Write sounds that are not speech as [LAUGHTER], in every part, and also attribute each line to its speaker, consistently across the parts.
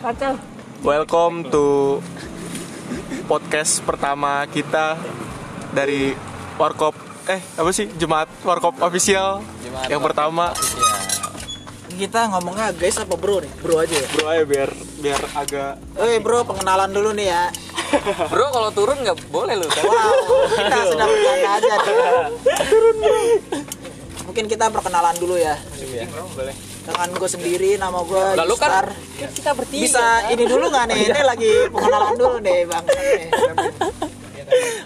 Speaker 1: Kacau.
Speaker 2: Welcome to podcast pertama kita dari Warkop eh apa sih Jemaat Warkop official
Speaker 3: Jemaat
Speaker 2: yang
Speaker 3: Warkop.
Speaker 2: pertama
Speaker 1: Kita ngomongnya guys apa bro nih? Bro aja ya.
Speaker 2: bro ayo biar biar agak
Speaker 1: Oi bro, pengenalan dulu nih ya.
Speaker 3: [LAUGHS] Bro kalau turun nggak boleh lu kan?
Speaker 1: Wow, kita sedang bercanda aja. nih. Mungkin kita perkenalan dulu ya. Dengan gue sendiri, nama gue
Speaker 3: Lalu Iya. kan Oh, iya.
Speaker 1: Star.
Speaker 3: kita bertiga.
Speaker 1: Bisa ini dulu nggak nih? Ini lagi pengenalan dulu nih bang.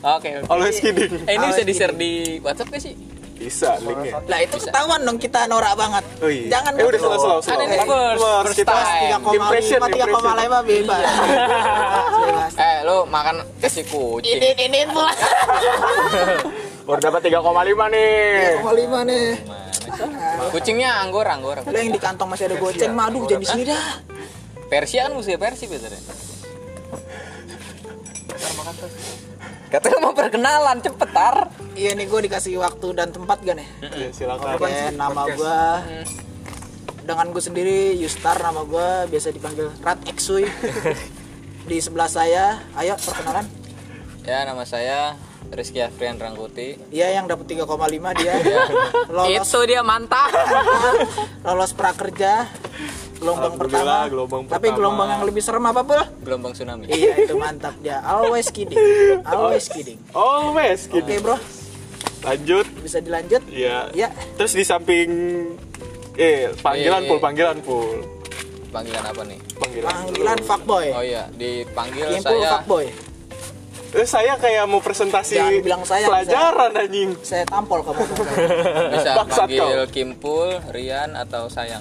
Speaker 3: Oke. oke.
Speaker 2: always kidding
Speaker 3: Eh, ini
Speaker 1: Awas
Speaker 3: bisa di
Speaker 1: gini.
Speaker 3: share di WhatsApp gak sih?
Speaker 2: bisa linknya
Speaker 1: Lah itu ketahuan dong kita norak banget.
Speaker 2: oh iya
Speaker 1: Jangan gitu
Speaker 2: eh udah slow slow
Speaker 3: Kan
Speaker 2: slow
Speaker 3: ini first-
Speaker 2: harus
Speaker 3: first
Speaker 2: kita
Speaker 3: time.
Speaker 2: impression
Speaker 1: 3,5
Speaker 2: impression
Speaker 1: 3,5
Speaker 3: [LAUGHS]
Speaker 1: bebas. Bebas.
Speaker 3: Eh lu makan nasi kucing.
Speaker 1: ini pula.
Speaker 2: baru dapat 3,5 nih
Speaker 1: 3,5 nih.
Speaker 3: Kucingnya anggora anggora.
Speaker 1: Lah yang di kantong masih ada goceng, madu jangan di sini dah.
Speaker 3: Persia kan musuhnya Persia biasanya. Katanya mau perkenalan cepet tar.
Speaker 1: Iya nih gue dikasih waktu dan tempat gak nih?
Speaker 2: Iya, silakan
Speaker 1: Oke, nama gue dengan gue sendiri Yustar nama gue biasa dipanggil Rat [LAUGHS] Eksui. di sebelah saya, ayo perkenalan.
Speaker 3: Ya nama saya Rizky Afrian Rangkuti.
Speaker 1: Iya yang dapat 3,5 dia. lolos
Speaker 3: Itu dia mantap.
Speaker 1: Iya. lolos prakerja gelombang
Speaker 2: Alhamdulillah,
Speaker 1: pertama.
Speaker 2: gelombang
Speaker 1: Tapi
Speaker 2: pertama.
Speaker 1: gelombang yang lebih serem apa pula?
Speaker 3: Gelombang tsunami.
Speaker 1: iya itu mantap dia. Always [LAUGHS] kidding. Always kidding.
Speaker 2: oh wes
Speaker 1: Oke, Bro.
Speaker 2: lanjut
Speaker 1: Bisa dilanjut?
Speaker 2: ya
Speaker 1: Iya.
Speaker 2: terus di samping eh panggilan
Speaker 3: Iya,
Speaker 2: pul
Speaker 3: iya.
Speaker 2: panggilan pul
Speaker 3: Panggilan apa nih?
Speaker 2: panggilan
Speaker 1: Panggilan
Speaker 2: Pul.
Speaker 1: fuckboy.
Speaker 3: Oh iya, dipanggil
Speaker 1: Yang pul
Speaker 3: saya
Speaker 1: fuckboy.
Speaker 2: Terus Eh, saya kayak mau presentasi
Speaker 1: Jangan bilang saya,
Speaker 2: pelajaran anjing.
Speaker 1: Saya tampol
Speaker 3: [LAUGHS]
Speaker 1: kamu.
Speaker 3: bisa
Speaker 2: Bangsat
Speaker 3: panggil Kimpul, Rian atau Sayang.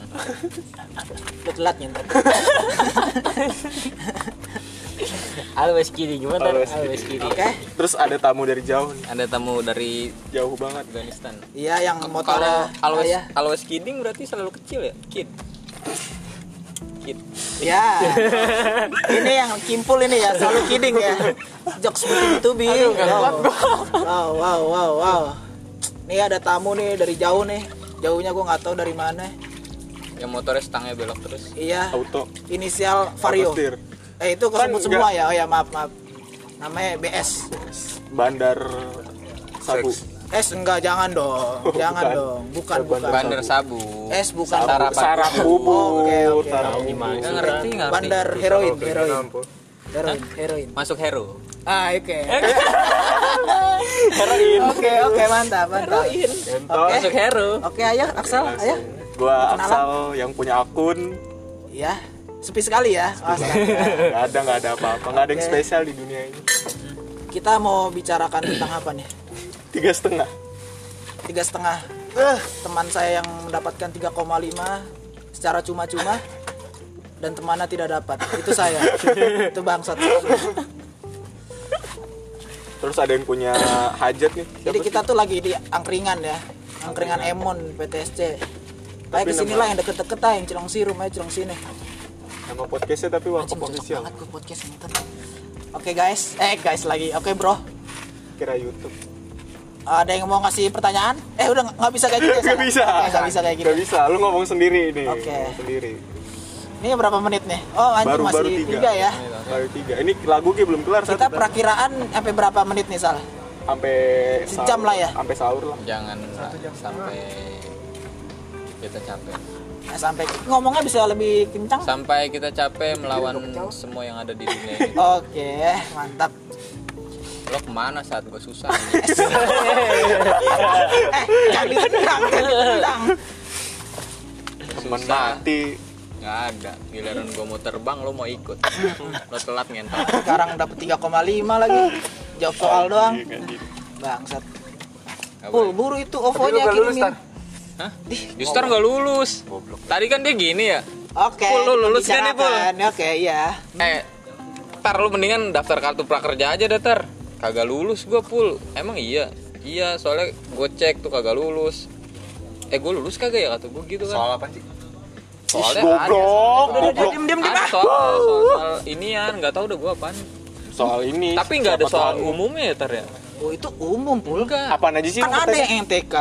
Speaker 1: Udah telat nyentuh.
Speaker 4: Always kidding, gimana?
Speaker 2: Always
Speaker 4: Always,
Speaker 2: kidding.
Speaker 4: kidding.
Speaker 1: Oke.
Speaker 2: Terus ada tamu dari jauh, nih.
Speaker 3: Ada tamu dari
Speaker 2: jauh banget.
Speaker 3: Afghanistan.
Speaker 1: Iya yang motor
Speaker 3: Kalau always
Speaker 1: saya.
Speaker 3: always kidding berarti selalu kecil ya? Kid. Kid.
Speaker 1: Ya. ini yang kimpul ini ya, selalu kidding ya. Jokes begitu bi. Wow. wow, wow, wow, wow. Nih ada tamu nih dari jauh nih. Jauhnya gua nggak tahu dari mana.
Speaker 3: Yang Ya, motornya stangnya belok terus.
Speaker 1: Iya.
Speaker 2: Auto.
Speaker 1: Inisial
Speaker 2: Auto
Speaker 1: Vario.
Speaker 2: setir.
Speaker 1: Eh itu
Speaker 2: Kan
Speaker 1: kesebut
Speaker 2: nggak-
Speaker 1: semua ya. Oh ya maaf maaf. Namanya BS.
Speaker 2: Bandar Sabu.
Speaker 1: S enggak jangan dong. Jangan
Speaker 2: [LAUGHS] Bukan.
Speaker 1: dong. Bukan
Speaker 2: Bandar
Speaker 1: bukan.
Speaker 3: Bandar Sabu.
Speaker 1: S bukan.
Speaker 3: Sarap.
Speaker 2: Sarap bubur,
Speaker 1: Oke, oke.
Speaker 2: sarap bubur.
Speaker 3: Nggak ngerti, nggak ngerti.
Speaker 1: Bandar heroin, heroin. Heroin, heroin.
Speaker 3: Masuk hero.
Speaker 1: Ah, [LAUGHS] oke. Oke, oke, mantap, mantap.
Speaker 2: Entah.
Speaker 3: Masuk hero.
Speaker 1: Oke, ayo Axel, ayo.
Speaker 2: Gua
Speaker 1: Kenalan.
Speaker 2: Aksal yang punya akun.
Speaker 1: Ya, sepi sekali ya. Oh, sekali.
Speaker 2: Gak ada, gak ada apa-apa. Gak ada yang
Speaker 1: Oke.
Speaker 2: spesial di dunia ini.
Speaker 1: Kita mau bicarakan tentang apa nih?
Speaker 2: Tiga setengah.
Speaker 1: Tiga setengah. Eh. Teman saya yang mendapatkan 3,5 secara cuma-cuma dan temannya tidak dapat. Itu saya. Itu bangsat.
Speaker 2: Terus ada yang punya hajat nih.
Speaker 1: Jadi
Speaker 2: Siapa
Speaker 1: kita tuh lagi di angkringan ya. Angkringan Emon PTSC. Kayak
Speaker 2: Tapi
Speaker 1: kesini lah yang deket-deket lah yang celong sirum aja celong sini.
Speaker 2: sih? Nama podcastnya tapi waktu
Speaker 1: Anjing cocok
Speaker 2: official.
Speaker 1: banget gue podcast ini ntar. Oke guys, eh guys lagi. Oke bro,
Speaker 2: Kira Youtube.
Speaker 1: ada yang mau ngasih pertanyaan? Eh udah nggak bisa
Speaker 2: [LAUGHS]
Speaker 1: kayak gitu. ya,
Speaker 2: Gak
Speaker 1: Sal?
Speaker 2: bisa.
Speaker 1: Oke, Nggak bisa kayak gitu.
Speaker 2: Gak bisa. Lu ngomong sendiri ini.
Speaker 1: Oke.
Speaker 2: Ngomong Sendiri.
Speaker 1: Ini berapa menit nih? Oh anjing
Speaker 2: Baru-
Speaker 1: masih
Speaker 2: baru tiga.
Speaker 1: tiga ya.
Speaker 2: Baru tiga. Ini lagu Ki belum kelar.
Speaker 1: Kita
Speaker 2: satu.
Speaker 1: perakiraan sampai berapa menit nih Sal?
Speaker 2: sampai
Speaker 1: Sejam
Speaker 2: sahur-
Speaker 1: lah ya.
Speaker 2: Sampai sahur lah.
Speaker 3: Jangan lah, sampai kita capek.
Speaker 1: Nah, sampai ngomongnya bisa lebih kencang.
Speaker 3: Sampai kita capek melawan semua yang ada di dunia ini.
Speaker 1: Oke, mantap.
Speaker 3: Lo kemana saat gue susah?
Speaker 1: Eh, jangan ditendang, jangan ditendang.
Speaker 2: Temen
Speaker 3: Susah.
Speaker 2: mati.
Speaker 3: Nggak ada. Giliran gue mau terbang, lo mau ikut. Lo telat ngentot.
Speaker 1: Sekarang dapat 3,5 lagi. Jawab soal doang.
Speaker 2: Iya, kan, Ji?
Speaker 1: Bangsat.
Speaker 3: Nggak
Speaker 1: Pul,
Speaker 3: boleh.
Speaker 1: buru itu OVO-nya kirimin.
Speaker 3: Hah? Justar nggak lulus. Tadi kan dia gini ya.
Speaker 1: Oke,
Speaker 3: Pul, lu lulus gak nih, Pul?
Speaker 1: dibicarakan. Oke, iya.
Speaker 3: Eh, tar lu mendingan daftar kartu prakerja aja deh tar. Kagak lulus gue pul. Emang iya. Iya, soalnya gue cek tuh kagak lulus. Eh, gue lulus kagak ya kata gue gitu kan?
Speaker 4: apa sih?
Speaker 3: Soalnya ada.
Speaker 2: Goblok,
Speaker 1: Udah, udah,
Speaker 2: goblok.
Speaker 1: diam, diam, diam.
Speaker 3: Ada
Speaker 1: ah.
Speaker 3: soal, soal, soal inian, nggak tahu udah gue apaan.
Speaker 2: Soal ini.
Speaker 3: Tapi nggak ada
Speaker 2: siapa
Speaker 3: soal
Speaker 2: tahu.
Speaker 3: umumnya ya tar ya?
Speaker 1: Oh, itu umum, Kan Pul.
Speaker 3: Enggak.
Speaker 2: Apaan aja sih?
Speaker 1: Kan
Speaker 2: yang
Speaker 1: ada
Speaker 2: katanya?
Speaker 1: yang MTK.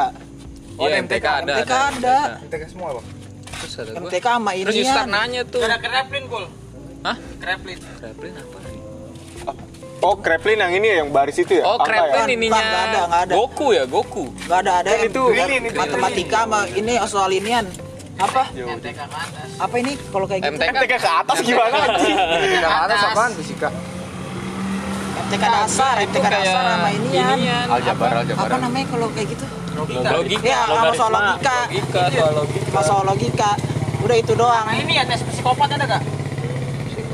Speaker 3: Oh, MTK ada.
Speaker 1: MTK ada.
Speaker 4: MTK semua, Bang.
Speaker 3: Terus terus kata gua.
Speaker 1: MTK sama
Speaker 3: Terus
Speaker 1: ini
Speaker 3: Yustar nanya tuh.
Speaker 5: Gara kreplin pul.
Speaker 3: Hah?
Speaker 5: Kreplin.
Speaker 3: Kreplin apa nih?
Speaker 2: Oh, kreplin yang ini ya, yang baris itu ya?
Speaker 3: Oh,
Speaker 2: Angka ya?
Speaker 3: Kreplin
Speaker 1: Bukan,
Speaker 3: ininya.
Speaker 1: nggak ada, nggak ada.
Speaker 3: Goku ya, Goku.
Speaker 1: Gak ada ada
Speaker 2: Kan
Speaker 1: yang
Speaker 2: itu ini, ini,
Speaker 1: matematika sama ini soal inian. Apa?
Speaker 2: Jauh.
Speaker 5: MTK ke atas.
Speaker 1: Apa ini kalau kayak gitu?
Speaker 3: MTK.
Speaker 2: MTK Kan ke atas gimana anjing?
Speaker 6: Tidak ada
Speaker 5: Atas.
Speaker 6: apaan fisika?
Speaker 1: MTK dasar,
Speaker 3: Itu
Speaker 1: MTK dasar
Speaker 3: kayak
Speaker 1: sama inian.
Speaker 3: inian.
Speaker 6: Aljabar,
Speaker 1: Apa
Speaker 6: aljabar.
Speaker 1: namanya kalau kayak gitu?
Speaker 5: Logika.
Speaker 3: Logika.
Speaker 1: Ya, sama soal
Speaker 4: Logaritma.
Speaker 1: logika.
Speaker 3: Iya, Logika, Iya. soal logika.
Speaker 1: Sama soal logika. Udah itu doang.
Speaker 5: Nah ini ya tes psikopat ada gak?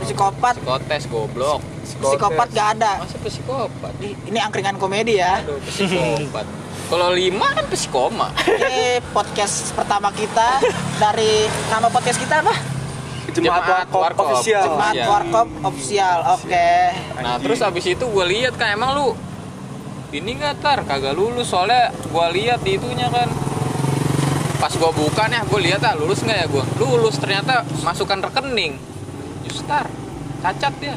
Speaker 1: Psikopat,
Speaker 3: Psikotes goblok.
Speaker 1: psikopat gak ada.
Speaker 3: Masa psikopat?
Speaker 1: Ih, Ini angkringan komedi ya.
Speaker 3: Aduh, psikopat. Kalau lima kan psikoma.
Speaker 1: Ini podcast pertama kita dari nama podcast kita apa?
Speaker 2: Jemaat
Speaker 3: Jemaat
Speaker 2: Warkop
Speaker 3: Warkop.
Speaker 2: official.
Speaker 1: Jemaat
Speaker 3: Iya.
Speaker 1: Warkop Official. Oke.
Speaker 3: Nah terus abis itu gue lihat kan emang lu ini nggak tar kagak lulus soalnya gue lihat di itunya kan pas gue buka nih gue lihat ah lulus nggak ya gue lulus ternyata masukkan rekening Yustar cacat dia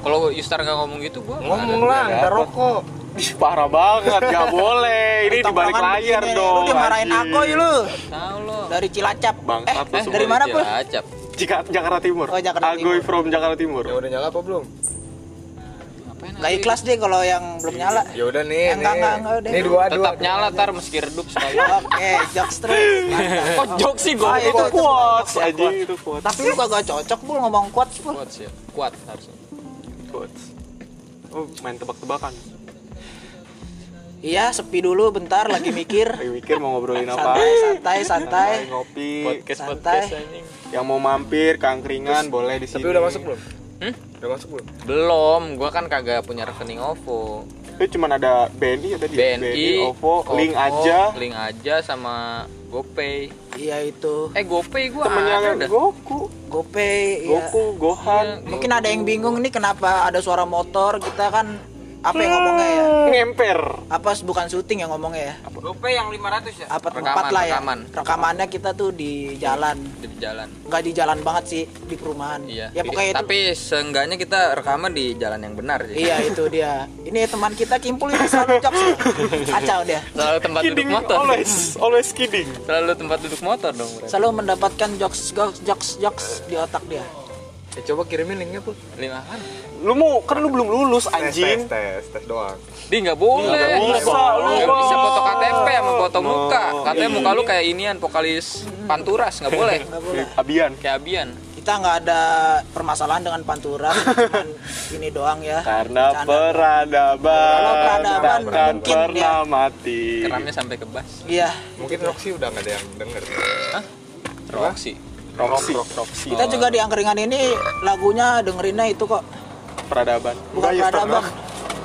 Speaker 3: kalau Yustar nggak ngomong gitu gue
Speaker 6: Ngomong lah, ada rokok.
Speaker 2: Ih, parah banget, gak boleh. Ini di balik
Speaker 1: Tongkrongan
Speaker 2: layar
Speaker 1: begini.
Speaker 2: dong.
Speaker 1: Lu dimarahin
Speaker 2: anjing.
Speaker 1: aku lu.
Speaker 3: tahu lo
Speaker 1: Dari Cilacap.
Speaker 2: Bangsat lu
Speaker 1: eh, eh,
Speaker 2: semua
Speaker 1: dari mana pun?
Speaker 3: Cilacap
Speaker 2: Jika Jakarta Timur.
Speaker 1: Oh, Jakarta
Speaker 2: Agoy
Speaker 1: Timur.
Speaker 2: from Jakarta Timur.
Speaker 6: Ya udah nyala apa belum?
Speaker 3: Ngapain
Speaker 1: Gak
Speaker 3: lagi?
Speaker 1: ikhlas deh kalau yang belum nyala.
Speaker 6: Ya udah nih,
Speaker 1: Enggak,
Speaker 6: nih.
Speaker 1: enggak, enggak, udah.
Speaker 6: Nih dua, dua.
Speaker 3: tetap nyala tar meski redup
Speaker 6: [LAUGHS]
Speaker 3: sekali
Speaker 1: Oke, jokes terus.
Speaker 2: [LAUGHS]
Speaker 1: Mantap.
Speaker 3: kok jok sih gue
Speaker 1: Ah,
Speaker 2: Itu
Speaker 1: Itu- itu
Speaker 2: quotes
Speaker 1: quotes,
Speaker 2: anjing, itu quotes.
Speaker 1: Tapi lu kagak cocok bul ngomong kuat bul.
Speaker 3: kuat sih kuat harusnya
Speaker 2: Quotes. Oh, main tebak-tebakan.
Speaker 1: Iya, sepi dulu bentar lagi mikir.
Speaker 2: Lagi mikir mau ngobrolin apa.
Speaker 1: Santai, santai, santai.
Speaker 2: Santai, ngopi.
Speaker 3: podcast
Speaker 1: Santai.
Speaker 3: podcast anjing
Speaker 2: Yang mau mampir, kangkringan, boleh di sini.
Speaker 6: Tapi udah masuk belum?
Speaker 3: Hmm?
Speaker 6: Udah masuk belum?
Speaker 3: belum gue kan kagak punya rekening OVO
Speaker 2: Itu cuma ada BNI ya tadi.
Speaker 3: BNI,
Speaker 2: OVO, link aja.
Speaker 3: Link aja sama GoPay.
Speaker 1: Iya itu.
Speaker 3: Eh GoPay gua ada
Speaker 2: Temennya
Speaker 3: dah.
Speaker 2: Goku,
Speaker 1: GoPay, iya.
Speaker 2: Goku, Gohan,
Speaker 1: Mungkin ada yang bingung nih kenapa ada suara motor. Kita kan apa yang ngomongnya ya?
Speaker 2: ngemper.
Speaker 1: Apa bukan syuting yang ngomongnya ya?
Speaker 5: Gope yang 500 ya?
Speaker 1: Apa
Speaker 3: Rekaman,
Speaker 1: tempat lah ya?
Speaker 3: rekaman.
Speaker 1: Rekamannya kita tuh di jalan.
Speaker 3: di jalan.
Speaker 1: Nggak di jalan banget sih, di perumahan.
Speaker 3: Iya.
Speaker 1: Ya pokoknya itu.
Speaker 3: Tapi seenggaknya kita rekaman di jalan yang benar sih.
Speaker 1: Iya itu dia. Ini teman kita Kimpul ini selalu jokes. ya. Kacau dia.
Speaker 3: Selalu tempat duduk
Speaker 2: Kidding,
Speaker 3: motor.
Speaker 2: always, always kidding.
Speaker 3: Selalu tempat duduk motor dong. Bre.
Speaker 1: Selalu mendapatkan jokes jokes jokes, jokes di otak dia.
Speaker 6: Ya coba kirimin linknya pul.
Speaker 3: Lima kan?
Speaker 2: Lu mau kan lu belum lulus
Speaker 6: Tes,
Speaker 2: anjing.
Speaker 6: Tes, tes, tes doang.
Speaker 3: Di nggak boleh.
Speaker 2: Nggak
Speaker 3: Nggak
Speaker 2: bisa, lu
Speaker 3: Nggak bisa
Speaker 2: Bang.
Speaker 3: foto KTP sama foto
Speaker 2: No.
Speaker 3: muka. Katanya
Speaker 2: Iya.
Speaker 3: muka lu kayak inian vokalis Panturas nggak boleh.
Speaker 1: Nggak boleh.
Speaker 2: Abian.
Speaker 3: Kayak Abian.
Speaker 1: Kita nggak ada permasalahan dengan pantura. cuman ini doang ya.
Speaker 2: Karena
Speaker 1: Bercanda.
Speaker 2: peradaban
Speaker 1: Kalau peradaban
Speaker 2: takkan
Speaker 1: mungkin ya.
Speaker 2: pernah
Speaker 1: dia-
Speaker 2: mati.
Speaker 3: Keramnya sampai ke bass.
Speaker 1: Iya.
Speaker 6: Mungkin Roxy udah nggak ada yang denger.
Speaker 3: Roxy.
Speaker 2: Roxy, Roxy,
Speaker 1: Kita juga di angkringan ini lagunya dengerinnya itu kok
Speaker 2: peradaban.
Speaker 1: bukan peradaban.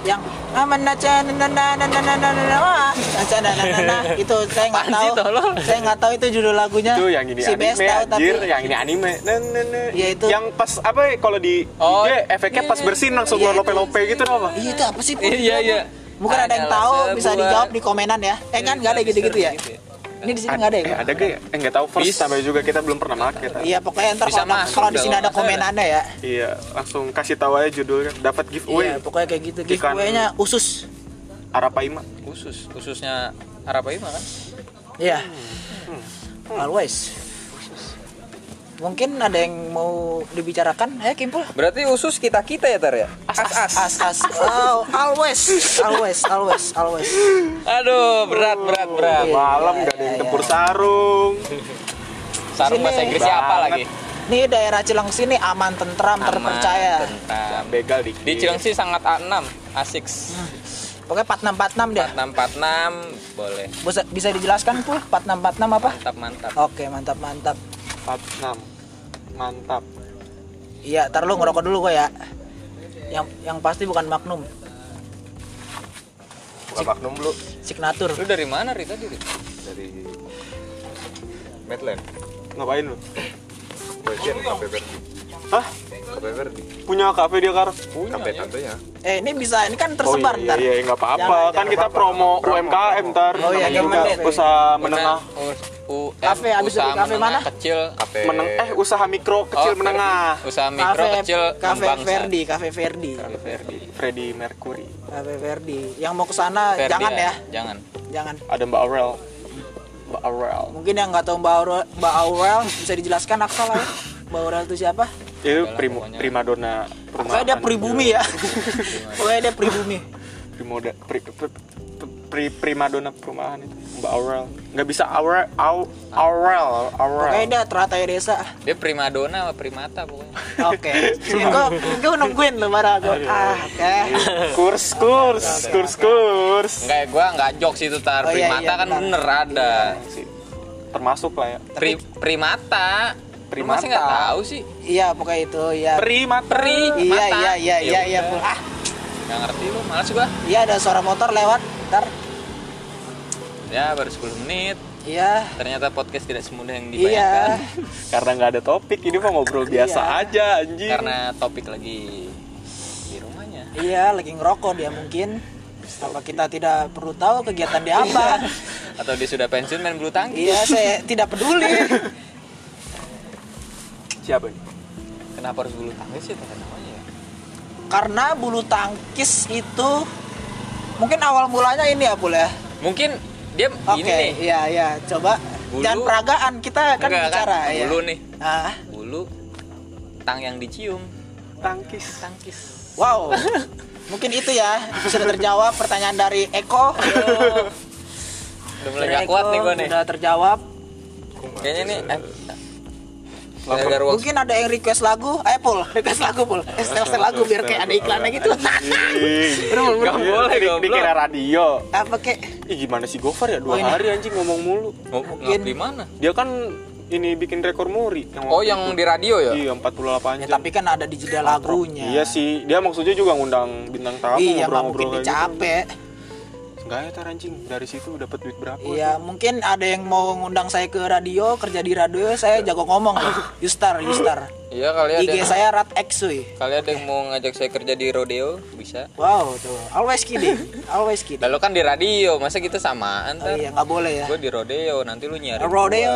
Speaker 1: Yang aman naca nana nana nana nana wah, naca nana nana itu saya nggak
Speaker 3: Apaan sih,
Speaker 1: tahu.
Speaker 3: tolol?
Speaker 1: Saya nggak tahu itu judul lagunya.
Speaker 2: Itu yang ini
Speaker 1: si
Speaker 2: anime,
Speaker 1: Best tahu tapi
Speaker 2: anjir, yang ini anime. Nah, nah, nah.
Speaker 1: Iya, itu.
Speaker 2: Yang pas apa ya, kalau di
Speaker 3: Oh,
Speaker 2: IG efeknya pas bersin langsung
Speaker 1: Iya, itu.
Speaker 2: lope-lope gitu apa?
Speaker 1: Iya itu apa sih? Pur?
Speaker 3: Iya, iya.
Speaker 1: Mungkin ada yang
Speaker 3: Adalah
Speaker 1: tahu bisa
Speaker 3: sebuah-
Speaker 1: dijawab di komenan ya. Eh kan nggak ada
Speaker 3: Bisa
Speaker 1: gitu-gitu ya.
Speaker 3: gitu ya.
Speaker 1: Ini di sini nggak ada ya?
Speaker 2: Eh, ada gak ya? Eh, nggak tahu first
Speaker 3: Bis.
Speaker 2: sampai juga kita belum pernah make. Tar.
Speaker 1: Iya pokoknya ntar
Speaker 3: Bisa
Speaker 1: kalau
Speaker 3: masuk
Speaker 1: kalau di sini
Speaker 3: dalam
Speaker 1: ada
Speaker 3: masa
Speaker 1: komenannya ya.
Speaker 2: Iya, langsung kasih tahu aja judulnya. Dapat
Speaker 1: Iya
Speaker 2: giveaway
Speaker 1: pokoknya Iya, kayak gitu.
Speaker 2: Ikan-
Speaker 1: Giveaway-nya usus.
Speaker 2: Arapaima.
Speaker 3: Khusus, khususnya Arapaima kan?
Speaker 1: Iya. Always. Mungkin ada yang mau dibicarakan? Ayo Kimpul.
Speaker 3: Berarti usus kita kita ya Tar ya?
Speaker 1: As as as. Oh, always, always, always, always.
Speaker 3: Aduh berat berat berat.
Speaker 1: Iya,
Speaker 2: Malam
Speaker 1: iya,
Speaker 2: gak ada yang
Speaker 1: iya,
Speaker 2: tempur
Speaker 1: iya.
Speaker 2: sarung.
Speaker 3: Sarung
Speaker 1: Sini.
Speaker 3: bahasa Inggrisnya apa
Speaker 2: Banget.
Speaker 3: lagi?
Speaker 1: Nih daerah Cilengsi ini aman, tentram, terpercaya.
Speaker 3: Aman, tentram.
Speaker 2: Begal dikit.
Speaker 3: Di Cilengsi sangat A6, A6,
Speaker 1: Pokoknya 4646 dia.
Speaker 3: 4646 boleh.
Speaker 1: Bisa, bisa dijelaskan pul 4646 apa?
Speaker 3: Mantap mantap.
Speaker 1: Oke, mantap mantap.
Speaker 2: 46. Mantap.
Speaker 1: Iya, ntar lu ngerokok dulu gua ya. Yang yang pasti bukan Magnum,
Speaker 6: Buka Magnum lu
Speaker 1: Signature.
Speaker 3: Lu dari mana Rita diri?
Speaker 6: dari Medland.
Speaker 2: Ngapain lu?
Speaker 6: Bagian Cafe Verde.
Speaker 2: Hah?
Speaker 6: Cafe Verde.
Speaker 2: Punya kafe dia kar?
Speaker 3: Punya
Speaker 6: Cafe
Speaker 3: ya.
Speaker 6: Tantenya.
Speaker 1: Eh, ini bisa, ini kan tersebar
Speaker 2: oh, iya,
Speaker 1: ntar.
Speaker 2: iya, iya, nggak apa-apa.
Speaker 1: Jangan,
Speaker 2: Kan
Speaker 1: jangan.
Speaker 2: kita
Speaker 6: apa-apa.
Speaker 2: promo
Speaker 6: Promo,
Speaker 2: UMKM ntar.
Speaker 1: Oh, iya,
Speaker 2: Namanya
Speaker 1: jangan
Speaker 2: juga
Speaker 1: menit.
Speaker 2: usaha menengah.
Speaker 3: U- U-
Speaker 1: Kafe,
Speaker 3: M,
Speaker 1: abis dari
Speaker 3: usaha
Speaker 1: kafe
Speaker 3: menengah
Speaker 1: mana?
Speaker 3: kecil.
Speaker 6: Cafe.
Speaker 2: Meneng eh usaha mikro kecil
Speaker 3: Oh,
Speaker 2: menengah.
Speaker 3: Ferdi. Usaha mikro
Speaker 1: Cafe,
Speaker 3: kecil
Speaker 1: Cafe
Speaker 3: membangsa.
Speaker 1: Verdi, Cafe Verdi.
Speaker 3: Cafe Ferdi.
Speaker 2: Freddy Mercury.
Speaker 1: Cafe Eh, Verdi. Yang mau ke sana
Speaker 3: Ferdi
Speaker 1: Eh, jangan ya.
Speaker 3: Jangan.
Speaker 1: Jangan.
Speaker 2: Ada Mbak Aurel. Mbak Aurel.
Speaker 1: Mungkin yang nggak tahu Mbak Aurel, Mbak Aurel bisa dijelaskan Aksal ya. Mbak Aurel itu siapa?
Speaker 2: Itu
Speaker 3: Udahlah,
Speaker 2: prim,
Speaker 3: pokoknya.
Speaker 2: primadona perumahan.
Speaker 1: Pokoknya dia pribumi ya. [LAUGHS] Pokoknya dia pribumi.
Speaker 2: Primoda, pri, pri, pri, primadona perumahan itu Mbak Aurel. Nggak bisa Aurel, Au- Aurel, Aurel.
Speaker 1: Pokoknya dia teratai desa.
Speaker 3: Dia primadona apa primata pokoknya.
Speaker 1: Oke. Gue gue nungguin lo marah gue. Ah, oke.
Speaker 2: Kurs, kurs, kurs, kurs.
Speaker 3: Enggak ya, gua enggak jokes itu tar.
Speaker 1: Oh, iya,
Speaker 3: primata
Speaker 1: iya,
Speaker 3: kan
Speaker 1: benar.
Speaker 3: bener ada.
Speaker 2: Si- Termasuk lah ya.
Speaker 3: Pri, primata. Primata. Lu masih nggak
Speaker 2: Primata.
Speaker 3: tahu sih.
Speaker 1: Iya, pokoknya itu ya.
Speaker 2: Primata.
Speaker 3: Pri.
Speaker 1: Iya,
Speaker 3: mata.
Speaker 1: iya, iya, iya, iya.
Speaker 3: udah.
Speaker 1: Ah,
Speaker 3: Nggak ngerti lu, malas gua.
Speaker 1: iya ada suara motor lewat. Ntar.
Speaker 3: Ya baru 10 menit.
Speaker 1: Iya.
Speaker 3: Ternyata podcast tidak semudah yang
Speaker 1: Iya.
Speaker 3: dibayangkan.
Speaker 2: Karena nggak ada topik, ini mah ngobrol biasa
Speaker 1: Iya.
Speaker 2: aja anjing.
Speaker 3: Karena topik lagi di rumahnya.
Speaker 1: Iya, lagi ngerokok dia mungkin. Apa kita tidak perlu tahu kegiatan dia apa?
Speaker 3: Atau dia sudah pensiun main bulu tangkis.
Speaker 1: Iya, saya tidak peduli.
Speaker 2: siapa ini?
Speaker 3: Kenapa harus bulu tangkis sih? Tata namanya ya?
Speaker 1: Karena bulu tangkis itu mungkin awal mulanya ini ya, Bul ya.
Speaker 3: Mungkin dia
Speaker 1: Oke,
Speaker 3: ini nih.
Speaker 1: iya, iya, coba
Speaker 3: Bulu-
Speaker 1: jangan peragaan kita kan
Speaker 3: Enggak,
Speaker 1: bicara
Speaker 3: kan?
Speaker 1: ya.
Speaker 3: Bulu nih.
Speaker 1: Ah,
Speaker 3: Bulu tang yang dicium.
Speaker 2: Tangkis.
Speaker 3: Tangkis.
Speaker 1: wow. mungkin itu ya sudah terjawab pertanyaan dari Eko.
Speaker 3: Udah mulai gak kuat nih gua nih.
Speaker 1: Sudah terjawab.
Speaker 3: Kayaknya nih eh, gara-gara ruang
Speaker 1: Mungkin ada yang request lagu, ayo Pul, [LAUGHS] request lagu Pul. Eh, setel setel lagu biar kayak ada iklannya gitu.
Speaker 2: Iya. Gak boleh
Speaker 3: goblok.
Speaker 2: Dikira radio.
Speaker 1: Apa kek?
Speaker 2: Ih gimana sih Gofar ya
Speaker 1: Oh,
Speaker 2: dua
Speaker 1: ini.
Speaker 2: hari anjing ngomong mulu.
Speaker 3: mungkin di mana?
Speaker 2: Dia kan ini bikin rekor muri. Yang
Speaker 3: Oh,
Speaker 2: waktu
Speaker 3: yang
Speaker 2: itu.
Speaker 3: di radio ya?
Speaker 2: Iya 48
Speaker 1: Ya,
Speaker 2: jam.
Speaker 1: tapi kan ada di jeda lagunya.
Speaker 2: Iya sih, dia maksudnya juga ngundang bintang tamu
Speaker 1: Iya, nggak mungkin
Speaker 2: ngobrol-ngobrol
Speaker 1: dia
Speaker 2: kayak gitu.
Speaker 1: capek.
Speaker 2: Enggak ya tar anjing, dari situ dapat duit berapa?
Speaker 1: Iya, mungkin ada yang mau ngundang saya ke radio, kerja di radio, saya jago ngomong loh. Yustar, Yustar.
Speaker 3: Iya kali ada.
Speaker 1: IG
Speaker 3: yang-
Speaker 1: saya Rat Exui.
Speaker 3: Kali ada yang mau ngajak saya kerja di rodeo bisa.
Speaker 1: Wow, tuh. Always kidding. Always kidding.
Speaker 3: Lalu kan di radio, masa kita samaan
Speaker 1: Oh
Speaker 3: ntar?
Speaker 1: iya, nggak boleh ya.
Speaker 3: Gue di rodeo, nanti lu nyari. [LAUGHS]
Speaker 1: Rodeo,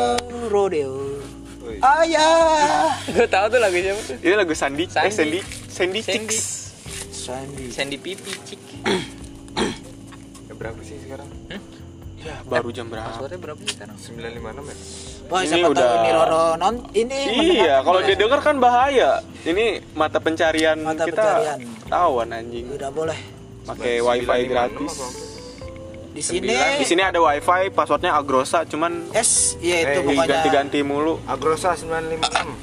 Speaker 1: rodeo. Ayah.
Speaker 3: Gue tahu tuh lagunya apa tuh.
Speaker 2: Ini lagu Sandi, eh Sandy, Sandy,
Speaker 3: Sandi. Sandy.
Speaker 2: Chicks.
Speaker 1: Sandi.
Speaker 3: Sandy Pipi cik.
Speaker 6: Ya, berapa sih sekarang?
Speaker 2: Ya, baru jam berapa?
Speaker 3: Passwordnya berapa sih sekarang?
Speaker 6: 956 ya?
Speaker 1: Wah,
Speaker 2: Ini
Speaker 1: siapa tahu
Speaker 2: udah-
Speaker 1: ini Roro non ini
Speaker 2: Iya, kalau dia denger kan bahaya. Ini mata pencarian
Speaker 1: Mata
Speaker 2: kita
Speaker 1: pencarian.
Speaker 2: ketahuan anjing.
Speaker 1: tidak boleh.
Speaker 2: Pakai wifi gratis.
Speaker 1: Di sini
Speaker 2: Di sini ada wifi, passwordnya Agrosa, cuman
Speaker 1: S ya itu
Speaker 6: Eh,
Speaker 1: pokoknya.
Speaker 2: ganti-ganti mulu.
Speaker 6: Agrosa 956